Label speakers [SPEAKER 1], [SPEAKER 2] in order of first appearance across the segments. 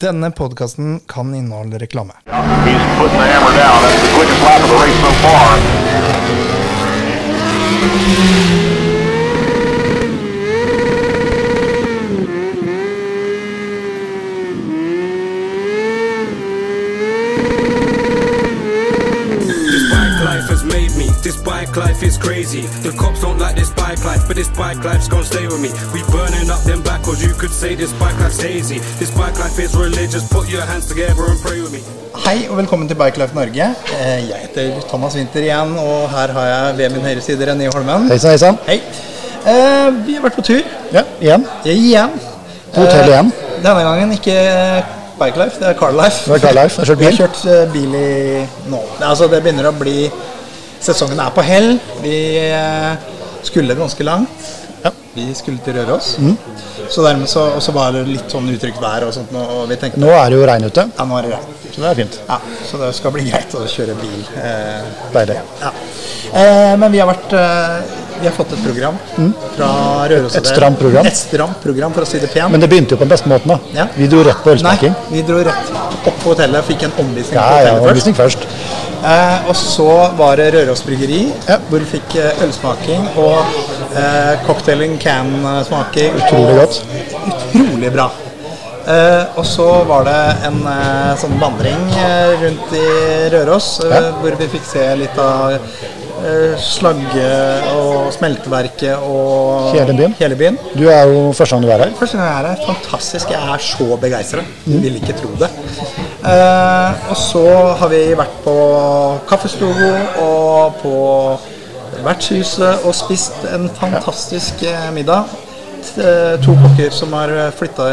[SPEAKER 1] Denne podkasten kan inneholde reklame.
[SPEAKER 2] He's putting the hammer down. That's the quickest lap of the race so far.
[SPEAKER 3] This bike life has made me. This bike life is crazy. The cops don't like this bike life, but this bike life's gonna stay with me. We burning up them backwards. You could say this bike life's hazy. This bike life is religious. Put your hands together and pray with me.
[SPEAKER 1] Hei og velkommen til Bikelife Norge. Eh, Jeg heter Thomas Winther igjen, og her har jeg ved min høyre side René Holmen.
[SPEAKER 4] Hei sann, hei sann.
[SPEAKER 1] Hei. Eh, Vi har vært på tur
[SPEAKER 4] Ja, igjen.
[SPEAKER 1] igjen.
[SPEAKER 4] På hotellet igjen.
[SPEAKER 1] Eh, Denne gangen ikke Bikelife, det er Carlife.
[SPEAKER 4] Det var Carl Leif. Jeg har kjørt
[SPEAKER 1] Vi har
[SPEAKER 4] bil.
[SPEAKER 1] kjørt eh, bil i nå. Det er Altså, det begynner å bli Sesongen er på hell. Vi eh, skulle ganske langt.
[SPEAKER 4] Ja. Mm.
[SPEAKER 1] Vi skulle til Røros. Så dermed så, og så var det litt sånn utrygt vær og sånt, og vi tenkte
[SPEAKER 4] Nå er det jo regn ute,
[SPEAKER 1] ja, nå er det regn.
[SPEAKER 4] så det er fint.
[SPEAKER 1] Ja, så det skal bli greit å kjøre bil. Eh,
[SPEAKER 4] Deilig.
[SPEAKER 1] ja. eh, men vi har vært eh, Vi har fått et program fra Røros.
[SPEAKER 4] Mm. Et- et stramt program.
[SPEAKER 1] Et stramt program, for å si det pent.
[SPEAKER 4] Men det begynte jo på den beste måten,
[SPEAKER 1] Ja.
[SPEAKER 4] da. Vi dro rett på
[SPEAKER 1] Nei,
[SPEAKER 4] ølsmaking.
[SPEAKER 1] vi dro rett opp på hotellet, fikk en omvisning
[SPEAKER 4] Ja,
[SPEAKER 1] på
[SPEAKER 4] ja,
[SPEAKER 1] hotellet først.
[SPEAKER 4] omvisning først.
[SPEAKER 1] Eh, og så var det Røros Bryggeri,
[SPEAKER 4] Ja.
[SPEAKER 1] hvor vi fikk eh, ølsmaking og eh, cocktailen can-smaking.
[SPEAKER 4] Utrolig godt.
[SPEAKER 1] Utrolig bra. Eh, og så var det en eh, sånn vandring eh, rundt i Røros, eh,
[SPEAKER 4] Ja.
[SPEAKER 1] hvor vi fikk se litt av eh, slagget og smelteverket og
[SPEAKER 4] Hele byen.
[SPEAKER 1] Hele byen.
[SPEAKER 4] Du er jo første gang du er her.
[SPEAKER 1] Første gang jeg er her. Fantastisk. Jeg er så begeistra. Du vil ikke tro det. Eh, og så har vi vært på Kaffestogo og på Vertshuset og spist en fantastisk eh, middag. T- eh, To kokker som har flytta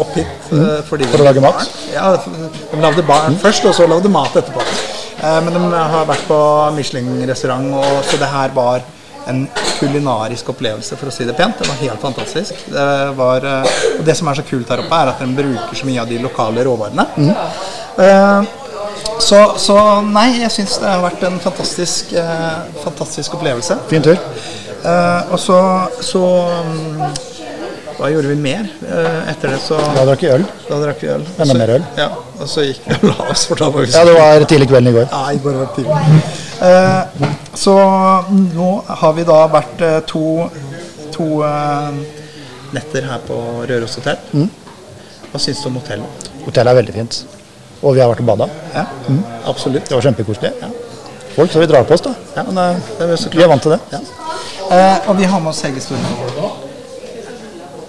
[SPEAKER 1] opp hit eh, fordi
[SPEAKER 4] For å lage mat?
[SPEAKER 1] Ja, de lagde barn først, og så lagde mat etterpå. Eh, Men de har vært på Michelin-restaurant, og- så det her var en kulinarisk opplevelse, for å si det pent. Det var helt fantastisk. Det, var, eh, og det som er så kult her oppe, er at de bruker så mye av de lokale råvarene.
[SPEAKER 4] Mm.
[SPEAKER 1] Eh, Så, så nei, jeg syns det har vært en fantastisk, eh, fantastisk opplevelse.
[SPEAKER 4] Fin tur.
[SPEAKER 1] Eh, Og så, så mm, Hva gjorde vi mer? Eh, Etter det så
[SPEAKER 4] Da drakk vi øl.
[SPEAKER 1] da drakk vi øl.
[SPEAKER 4] Enda
[SPEAKER 1] Så-
[SPEAKER 4] mer øl.
[SPEAKER 1] Ja, og så gikk vi og la oss, for da var vi sånn,
[SPEAKER 4] Ja, det var tidlig kvelden i går.
[SPEAKER 1] Nei, bare vært tidlig. Eh, så nå har vi da vært eh, to, to eh, netter her på Røros hotell.
[SPEAKER 4] Mm.
[SPEAKER 1] Hva syns du om hotellet?
[SPEAKER 4] Hotellet er veldig fint. Og vi har vært og bada.
[SPEAKER 1] Ja, absolutt.
[SPEAKER 4] mm. Det var kjempekoselig. Folk så vi drar på oss, da.
[SPEAKER 1] Ja,
[SPEAKER 4] Men eh,
[SPEAKER 1] det er så klart.
[SPEAKER 4] vi er vant til det.
[SPEAKER 1] Ja. Eh, og vi har med oss Hege Stormo.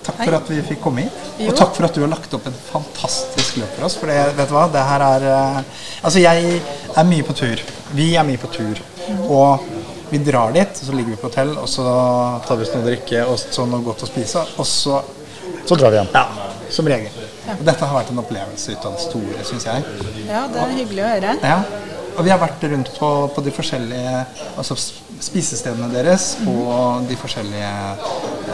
[SPEAKER 1] Takk for at vi fikk komme hit. Og takk for at du har lagt opp en fantastisk løp for oss. For det, vet du hva, det her er eh, Altså, jeg er mye på tur. Vi er mye på tur. Og vi drar dit, så ligger vi på hotell, og så tar vi oss noe å drikke og så noe godt å spise. Og så
[SPEAKER 4] Så drar vi igjen.
[SPEAKER 1] Ja, som regel. Og dette har vært en opplevelse ut av det store, syns jeg.
[SPEAKER 5] Ja, det er hyggelig å høre.
[SPEAKER 1] Ja. Og vi har vært rundt på, på de forskjellige altså s- spisestedene deres
[SPEAKER 4] Mhm.
[SPEAKER 1] og de forskjellige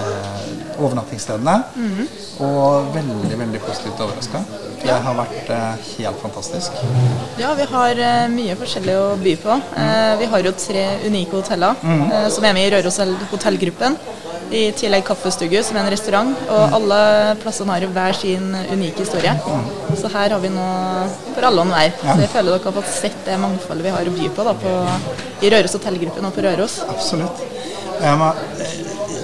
[SPEAKER 1] eh, overnattingsstedene.
[SPEAKER 4] Mhm.
[SPEAKER 1] Og veldig, veldig positivt overraska. Det har vært eh, helt fantastisk.
[SPEAKER 5] Ja, vi har eh, mye forskjellig å by på. Eh, vi har jo tre unike hoteller eh, som er med i Røros hotell- hotellgruppen. I tillegg Kaffestugu, som er en restaurant. Og alle plassene har jo hver sin unike historie. Så her har vi noe for alle og enhver. Så jeg føler dere har fått sett det mangfoldet vi har å by på, da, på i Røros hotellgruppen og på Røros.
[SPEAKER 1] Absolutt. Jeg må, eh,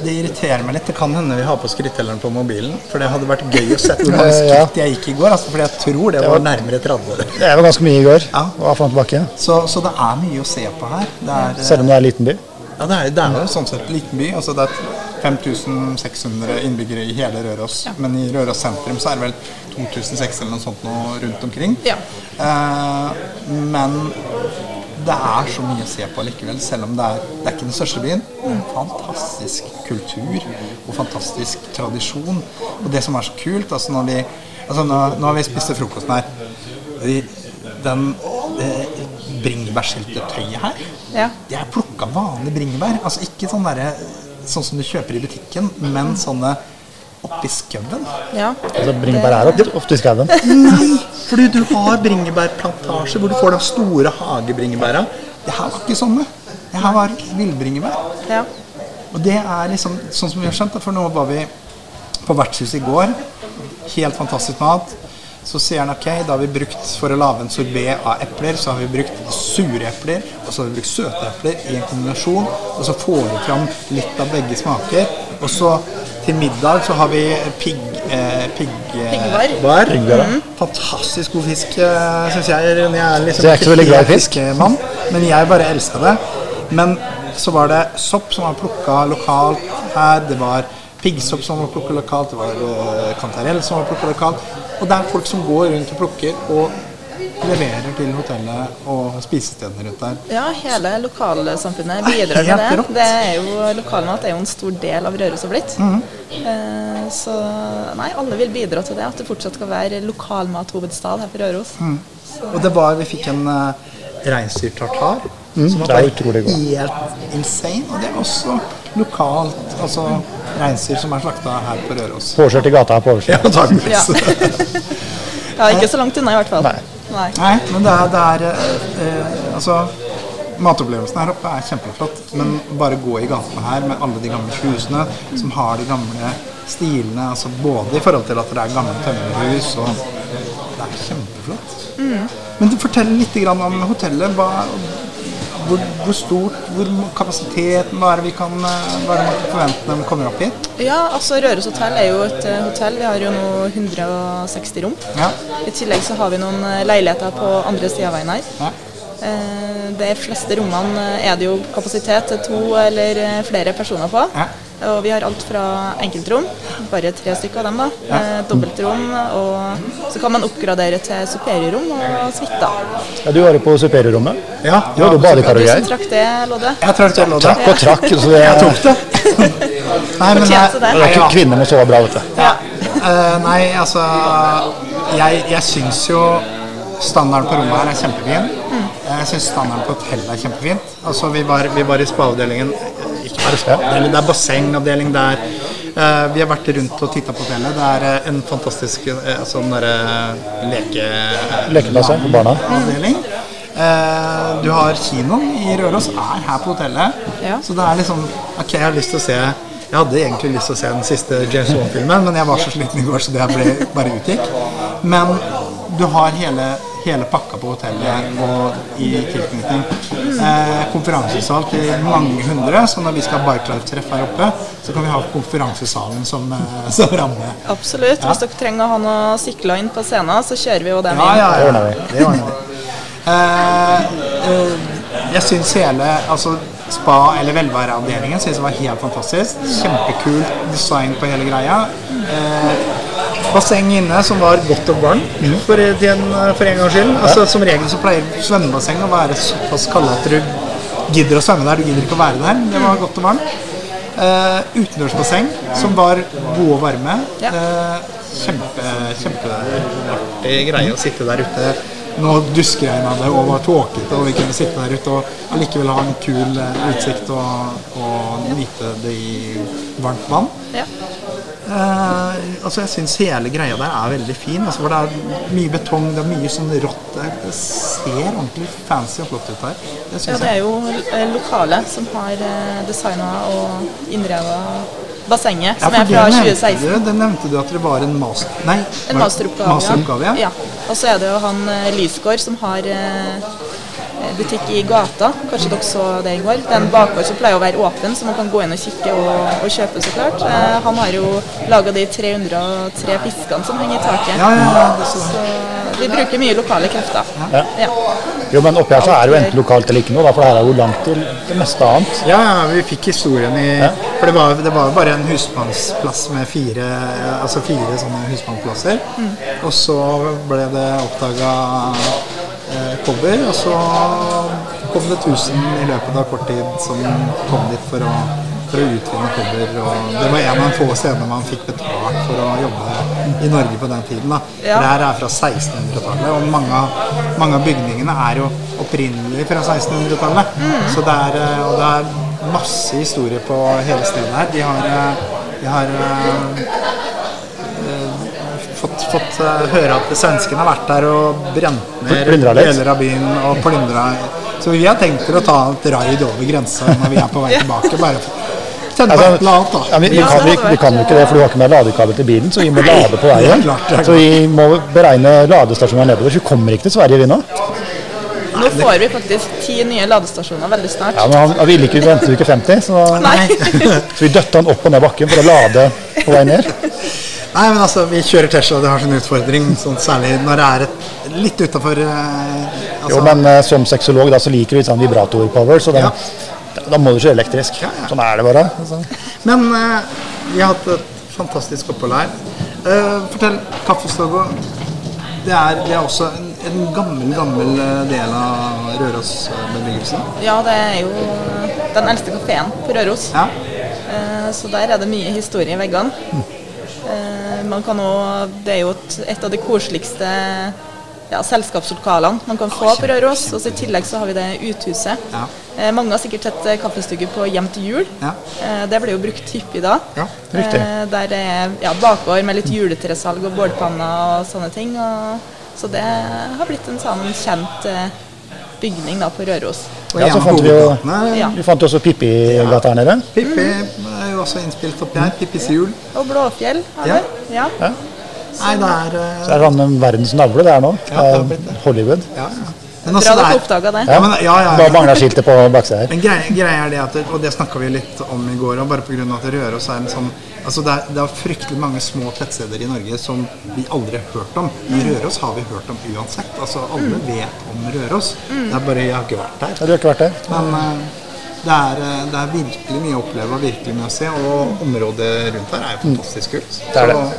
[SPEAKER 1] det irriterer meg litt. Det kan hende vi har på skrittelleren på mobilen. For det hadde vært gøy å sette hvor mange
[SPEAKER 4] Eh, ja.
[SPEAKER 1] skritt jeg gikk i går. Altså, for jeg tror det var nærmere 30.
[SPEAKER 4] Jeg var ganske mye i går.
[SPEAKER 1] Ja.
[SPEAKER 4] Og fram og tilbake.
[SPEAKER 1] Så, så det er mye å se på her. Det er, eh,
[SPEAKER 4] Selv om det er en liten by.
[SPEAKER 1] Ja, det er, det er jo sånn sett en liten by. Altså, det er 5600 innbyggere i hele Røros. Men i Røros sentrum så er det vel 2006 eller noe sånt noe rundt omkring.
[SPEAKER 5] Ja.
[SPEAKER 1] Eh, men det er så mye å se på likevel, selv om det er, det er ikke den største byen. Det er en fantastisk kultur og fantastisk tradisjon. Og det som er så kult altså når vi, altså nå, nå har vi spist til frokosten her. De, den eh, bringebærsyltetøyet her
[SPEAKER 5] Ja.
[SPEAKER 1] Jeg har plukka vanlige bringebær. Altså ikke sånn derre Sånn som du kjøper i butikken, men sånne oppi skauen.
[SPEAKER 5] Ja.
[SPEAKER 4] Altså, Bringebær er ofte, ofte i skauen.
[SPEAKER 1] Nei, fordi du har bringebærplantasje hvor du får de store hagebringebæra. Det her var ikke sånne. Det her var villbringebær.
[SPEAKER 5] ja.
[SPEAKER 1] Og det er liksom sånn som vi har skjønt det, for nå var vi på vertshuset i går. Helt fantastisk mat. Så sier han ok, da har vi brukt for å lage en sorbé av epler, så har vi brukt sure epler, og så har vi brukt søte epler i en kombinasjon. Og så får vi fram litt av begge smaker. Og så til middag så har vi pigg... Eh, pigg eh,
[SPEAKER 5] Piggvar.
[SPEAKER 1] bar.
[SPEAKER 4] Piggvar, ja.
[SPEAKER 1] Mhm. Fantastisk god fisk, eh, syns jeg. Rune. Jeg er liksom
[SPEAKER 4] Så jeg er ikke så veldig glad i
[SPEAKER 1] helt
[SPEAKER 4] fisk?
[SPEAKER 1] fiskemann, men jeg bare elska det. Men så var det sopp som var plukka lokalt her, det var piggsopp som var plukka lokalt, det var eh, kantarell som var plukka lokalt. Og det er folk som går rundt og plukker og leverer til hotellet og spisestedene rundt der.
[SPEAKER 5] Ja, hele lokalsamfunnet
[SPEAKER 1] Ah,
[SPEAKER 5] bidrar
[SPEAKER 1] helt
[SPEAKER 5] med det.
[SPEAKER 1] rått.
[SPEAKER 5] det er jo, lokalmat er jo en stor del av Røros og blitt. Eh, så nei, alle vil bidra til det. At det fortsatt skal være lokalmathovedstad her på Røros.
[SPEAKER 1] Og det var, vi fikk en uh, reinsdyrtartar. som var
[SPEAKER 4] det er
[SPEAKER 1] bare
[SPEAKER 4] utrolig godt.
[SPEAKER 1] Helt insane. Og det er også lokalt, altså reinsdyr som er slakta her på Røros.
[SPEAKER 4] Påkjørt i gata her på oversiden.
[SPEAKER 5] Ja.
[SPEAKER 1] antakeligvis.
[SPEAKER 5] ja, ikke så langt unna i hvert fall.
[SPEAKER 4] Nei.
[SPEAKER 5] Nei.
[SPEAKER 1] Nei, men det er, det er eh, eh, Altså, matopplevelsen her oppe er kjempeflott. Men bare gå i gatene her med alle de gamle husene som har de gamle stilene. Altså både i forhold til at det er gamle tømmerhus og Det er kjempeflott. Men du, fortell litt grann om hotellet. Hva, hvor, hvor stort, hvor må- kapasiteten, hva er det vi kan eh, hva er det man kan forvente når man kommer opp hit?
[SPEAKER 5] Ja, altså Røros hotell er jo et eh, hotell. Vi har jo nå 160 rom.
[SPEAKER 1] Ja.
[SPEAKER 5] I tillegg så har vi noen eh, leiligheter på andre sida av veien her.
[SPEAKER 1] Ja.
[SPEAKER 5] Eh, De fleste rommene eh, er det jo kapasitet til to eller eh, flere personer på.
[SPEAKER 1] Ja.
[SPEAKER 5] Og vi har alt fra enkeltrom, bare tre stykker av dem, da. eh, Dobbeltrom, og så kan man oppgradere til superiorrom og suite.
[SPEAKER 4] Ja, du var jo på superrommet.
[SPEAKER 1] Ja,
[SPEAKER 4] Du hadde jo badekar og
[SPEAKER 5] Du
[SPEAKER 4] greier.
[SPEAKER 5] som trakk det, Lodde.
[SPEAKER 1] Jeg tror det lå der.
[SPEAKER 4] Trakk og trakk. Så det,
[SPEAKER 1] Jeg tok det. Nei, men jeg,
[SPEAKER 5] Fortjente det.
[SPEAKER 4] det er ikke kvinner må sove bra, vet du.
[SPEAKER 1] Ja. Eh, nei, altså Jeg, jeg syns jo standarden på rommet her er kjempefin. Eh, Jeg syns standarden på hotellet er kjempefint. Altså, vi var, vi var i spaavdelingen eh, Ikke bare spaavdelingen, det er bassengavdeling der. Eh, vi har vært rundt og titta på hotellet. Det er eh, en fantastisk eh, sånn derre leke...
[SPEAKER 4] Lekeplasser for barna.
[SPEAKER 1] Avdeling. Eh, du har kinoen i Røros, er her på hotellet.
[SPEAKER 5] Ja.
[SPEAKER 1] Så det er liksom Ok, jeg har lyst til å se Jeg hadde egentlig lyst til å se den siste James Bond-filmen, men jeg var så sliten i går, så det ble, bare utgikk. Men du har hele, hele pakka på hotellet og i tilknytning. Eh, konferansesal til mange hundre, så når vi skal ha Bikelife-treff her oppe, så kan vi ha konferansesalen som, eh, som ramme.
[SPEAKER 5] Absolutt. Hvis dere trenger å ha noe sikla inn på scenen, så kjører vi jo dem
[SPEAKER 1] Ja,
[SPEAKER 5] inn.
[SPEAKER 1] ja, ja.
[SPEAKER 4] Det ordner vi.
[SPEAKER 1] Det ordner vi. Eh, eh, jeg syns hele altså, spa- eller velværeavdelingen synes jeg var helt fantastisk. Kjempekult design på hele greia. Eh, basseng inne som var godt og varmt for, til en, for en gangs skyld. Altså, som regel så pleier svømmebasseng å være såpass kalde at du gidder å svømme der. Du gidder ikke å være der. Det var godt og varmt. Eh, utendørsbasseng som var god og varme.
[SPEAKER 5] Ja.
[SPEAKER 1] Eh, kjempe, kjempeartig greie å sitte der ute. Nå dusker jeg meg det og var tåkete, og vi kunne sitte der ute og allikevel ha en kul eh, utsikt og, og nyte det i varmt vann.
[SPEAKER 5] Ja.
[SPEAKER 1] Eh, altså Jeg syns hele greia der er veldig fin. Altså for Det er mye betong, det er mye sånn rått. Det det ser ordentlig fancy og flott ut her. Det
[SPEAKER 5] Ja,
[SPEAKER 1] syns jeg.
[SPEAKER 5] det er jo eh, lokale som har designa og innreda bassenget, som
[SPEAKER 1] Ja, for
[SPEAKER 5] er fra
[SPEAKER 1] det nevnte
[SPEAKER 5] 2016.
[SPEAKER 1] du- Det nevnte du at det var en master... Nei,
[SPEAKER 5] En
[SPEAKER 1] var-
[SPEAKER 5] masteroppgave.
[SPEAKER 1] masteroppgave, ja.
[SPEAKER 5] ja. Og så er det jo han eh, Lysgård som har eh, butikk i gata. Kanskje dere så det i går. Det er en bakgård som pleier å være åpen, så man kan gå inn og kikke og, og kjøpe, så klart. Eh, han har jo laga de 303 fiskene som henger i taket.
[SPEAKER 1] Ja, ja, ja, det så-
[SPEAKER 5] Så vi bruker mye lokale krefter.
[SPEAKER 4] Ja. Jo, men oppi her så er det jo enten lokalt eller ikke noe, da, for det her er jo langt til det meste annet.
[SPEAKER 1] Ja, ja, vi fikk historien i For det var, det var jo bare en husmannsplass med fire Altså fire sånne husmannsplasser. Og så ble det oppdaga eh, kobber, og så kom det 1000 i løpet av kort tid som kom dit for å, for å utvinne kobber. Og det var en av de få scenene man fikk betalt for å jobbe i Norge på den tiden. da.
[SPEAKER 5] Ja.
[SPEAKER 1] For det her er fra 1600-tallet, og mange, av- mange av bygningene er jo opprinnelig fra 1600-tallet. Så det er, eh, og det er masse historie på hele stedet her. De har, eh, de har eh, eh, fått, fått eh, høre at svenskene har vært der og brent ned
[SPEAKER 4] Plyndra litt.
[SPEAKER 1] deler av byen og plyndra. Så vi har tenkt til å ta et raid over grensa når vi er på vei tilbake. bare for Tenn på et eller annet, da.
[SPEAKER 4] Altså, ja, men vi,
[SPEAKER 5] Ja,
[SPEAKER 4] kan,
[SPEAKER 5] det
[SPEAKER 4] vi,
[SPEAKER 5] hadde vært,
[SPEAKER 4] vi kan jo ikke det, for du har ikke med ladekabel til bilen. Så vi må lade på
[SPEAKER 1] det er
[SPEAKER 4] veien.
[SPEAKER 1] klart, det er
[SPEAKER 4] Så vi må beregne ladestasjonen her nede. Så vi kommer ikke til Sverige, vi nå.
[SPEAKER 5] Nå får vi faktisk ti nye ladestasjoner veldig snart.
[SPEAKER 4] Ja, men han, han ville ikke vente uke 50, så, da,
[SPEAKER 5] Nei.
[SPEAKER 4] så vi døtta han opp og ned bakken for å lade på vei ned.
[SPEAKER 1] Nei, men altså, vi kjører Tesla, det har sin utfordring. Sånn, særlig når det er et, litt utafor eh, altså,
[SPEAKER 4] Jo, men eh, som sexolog da, så liker du litt sånn vibrator-power, så den,
[SPEAKER 1] Ja.
[SPEAKER 4] da må du kjøre elektrisk.
[SPEAKER 1] Ja, ja.
[SPEAKER 4] Sånn er det bare. Så.
[SPEAKER 1] Men eh, vi har hatt et fantastisk opphold her. Eh, fortell, Kaffestogo. Det er, det er også en, en gammel, gammel eh, del av Rørosbebyggelsen.
[SPEAKER 5] Ja, det er jo eh, den eldste kafeen på Røros.
[SPEAKER 1] Ja.
[SPEAKER 5] Eh, Så der er det mye historie i veggene. Eh, Man kan også, det er jo et, et av de koseligste ja, selskapslokalene man kan få på Røros. Og så I tillegg så har vi det uthuset.
[SPEAKER 1] Ja.
[SPEAKER 5] Eh, Mange har sikkert sett eh, kaffestugu på Hjem til jul.
[SPEAKER 1] Ja.
[SPEAKER 5] Eh, Det ble jo brukt hyppig da.
[SPEAKER 1] Ja,
[SPEAKER 4] riktig.
[SPEAKER 5] Eh, Der er ja, bakgård med litt juletresalg og bålpanner og sånne ting. Og, så det har blitt en sånn kjent eh, bygning da på Røros.
[SPEAKER 1] Og
[SPEAKER 4] Ja, så
[SPEAKER 1] en av
[SPEAKER 4] fant vi jo-
[SPEAKER 1] hovedgatene,
[SPEAKER 5] Ja.
[SPEAKER 4] Vi fant jo også Pippi-gata her nede.
[SPEAKER 1] Pippi er jo også innspilt oppi her. Pippis jul.
[SPEAKER 5] Og Blåfjell har
[SPEAKER 1] Ja.
[SPEAKER 5] vi. Ja.
[SPEAKER 1] Nei, det er eh,
[SPEAKER 4] Det er sånn en verdens navle det er nå.
[SPEAKER 1] Ja, det har blitt
[SPEAKER 4] Eh,
[SPEAKER 1] det.
[SPEAKER 4] Hollywood.
[SPEAKER 1] ja, ja. Men
[SPEAKER 5] Bra
[SPEAKER 1] også Altså, det
[SPEAKER 5] dere
[SPEAKER 1] er-
[SPEAKER 5] oppdaga det.
[SPEAKER 1] Ja, men, ja, ja, ja.
[SPEAKER 4] Bare mangler skiltet på baksida her.
[SPEAKER 1] Men greia, greia er det at, og det snakka vi litt om i går, og bare pga. at Røros er en sånn Altså det er, det er fryktelig mange små tettsteder i Norge som vi aldri har hørt om. I Røros har vi hørt om uansett. Altså alle
[SPEAKER 4] Mm.
[SPEAKER 1] vet om Røros. Det er bare jeg har ikke vært der.
[SPEAKER 4] Har du ikke vært der?
[SPEAKER 1] Men eh, det er, eh, det er virkelig mye å oppleve og virkelig mye å se. Og området rundt her er jo fantastisk kult.
[SPEAKER 4] Mm. Det er det.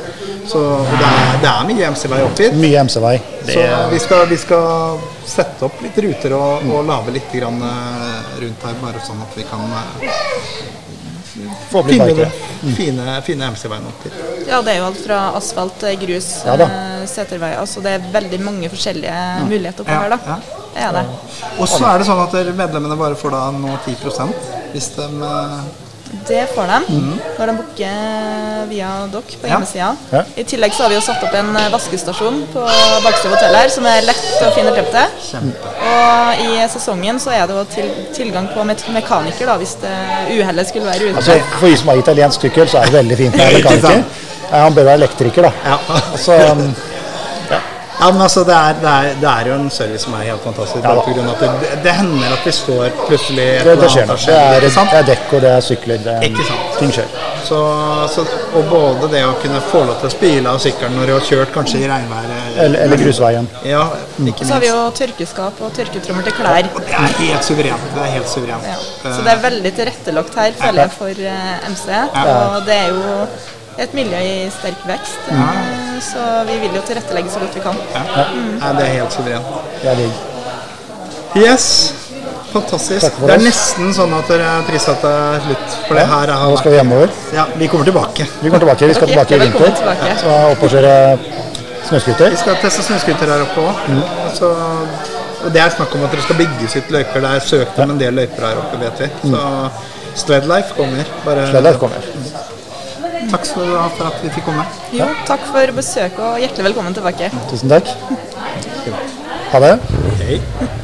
[SPEAKER 1] Så, så og det, er, det er mye MC-vei opp hit.
[SPEAKER 4] Mye MC-vei.
[SPEAKER 1] Så vi skal, vi skal sette opp litt ruter og, og lage litt grann, eh, rundt her, bare sånn at vi kan eh,
[SPEAKER 4] Få opp litt
[SPEAKER 1] finne,
[SPEAKER 4] marker.
[SPEAKER 1] det- fine, fine MC-veien opp hit.
[SPEAKER 5] Ja, det er jo alt fra asfalt til grus,
[SPEAKER 4] Ja da.
[SPEAKER 5] eh, seterveier. Så det er veldig mange forskjellige muligheter oppi
[SPEAKER 1] Ja,
[SPEAKER 5] her, da.
[SPEAKER 1] ja.
[SPEAKER 5] Det er det.
[SPEAKER 1] Og så er det sånn at dere medlemmene bare får da nå 10 hvis de eh,
[SPEAKER 5] Det får de når de booker via dere på
[SPEAKER 1] Mhm. Ja.
[SPEAKER 5] hjemmesida.
[SPEAKER 4] Ja.
[SPEAKER 5] I tillegg så har vi jo satt opp en eh, vaskestasjon på Bagstua hotell her, som er lett å finne frem til.
[SPEAKER 1] Kjempe.
[SPEAKER 5] Og i sesongen så er det jo til, tilgang på met- mekaniker, da, hvis det uhellet skulle være ute.
[SPEAKER 4] Altså, for de som har italiensk tykkel, så er det veldig fint med mekaniker. Eh, Han bør være elektriker, da.
[SPEAKER 1] Ja.
[SPEAKER 4] Så, um,
[SPEAKER 1] Ja, men altså, det er, det, er, det er jo en service som er helt fantastisk.
[SPEAKER 4] Ja da.
[SPEAKER 1] bare på grunn av at det, det hender at vi står plutselig et
[SPEAKER 4] det,
[SPEAKER 1] eller
[SPEAKER 4] det
[SPEAKER 1] annet
[SPEAKER 4] skjer
[SPEAKER 1] har
[SPEAKER 4] noe. Det
[SPEAKER 1] skjedd,
[SPEAKER 4] er,
[SPEAKER 1] ikke sant?
[SPEAKER 4] det er dekk og det er sykler. Det,
[SPEAKER 1] Ikke sant.
[SPEAKER 4] Ting skjer.
[SPEAKER 1] Så, så, og både det å kunne få lov til å spyle av sykkelen når du har kjørt kanskje i regnværet
[SPEAKER 4] Eller, eller grusveien.
[SPEAKER 1] Ja, ikke
[SPEAKER 5] Så
[SPEAKER 1] minst.
[SPEAKER 5] har vi jo tørkeskap og tørketrommel til klær.
[SPEAKER 1] Og det er helt suverent. Det er helt suverent. Eh,
[SPEAKER 5] Ja.
[SPEAKER 4] Eh.
[SPEAKER 5] Så det er veldig tilrettelagt her, føler jeg, for eh, MC. Og det er jo et miljø i sterk vekst, eh, så vi vil jo tilrettelegge så godt vi kan.
[SPEAKER 1] Eh, ja. Nei, det er helt suverent.
[SPEAKER 4] Det er digg.
[SPEAKER 1] Yes. Fantastisk.
[SPEAKER 4] for
[SPEAKER 1] Det er
[SPEAKER 4] oss.
[SPEAKER 1] nesten sånn at dere er prissatt er slutt. For det her
[SPEAKER 4] Nå
[SPEAKER 1] er
[SPEAKER 4] skal vi hjemover.
[SPEAKER 1] Ja, vi kommer tilbake.
[SPEAKER 4] Vi kommer tilbake. Vi skal
[SPEAKER 5] Ok,
[SPEAKER 4] tilbake i
[SPEAKER 5] velkommen
[SPEAKER 4] vinter.
[SPEAKER 5] tilbake.
[SPEAKER 4] Så opp og kjøre snøscooter.
[SPEAKER 1] Vi skal teste snøscooter her oppe
[SPEAKER 4] Mm.
[SPEAKER 1] òg. Og det er snakk om at dere skal bygges ut løyper. Det er søkt om en del løyper her oppe, vet
[SPEAKER 4] Mm.
[SPEAKER 1] vi. Så Stredlife kommer. Bare
[SPEAKER 4] Sledet kommer.
[SPEAKER 1] takk skal du ha for at vi fikk komme.
[SPEAKER 5] Jo, takk for besøket, og hjertelig velkommen tilbake.
[SPEAKER 4] Tusen takk. Ha det.
[SPEAKER 1] Hei.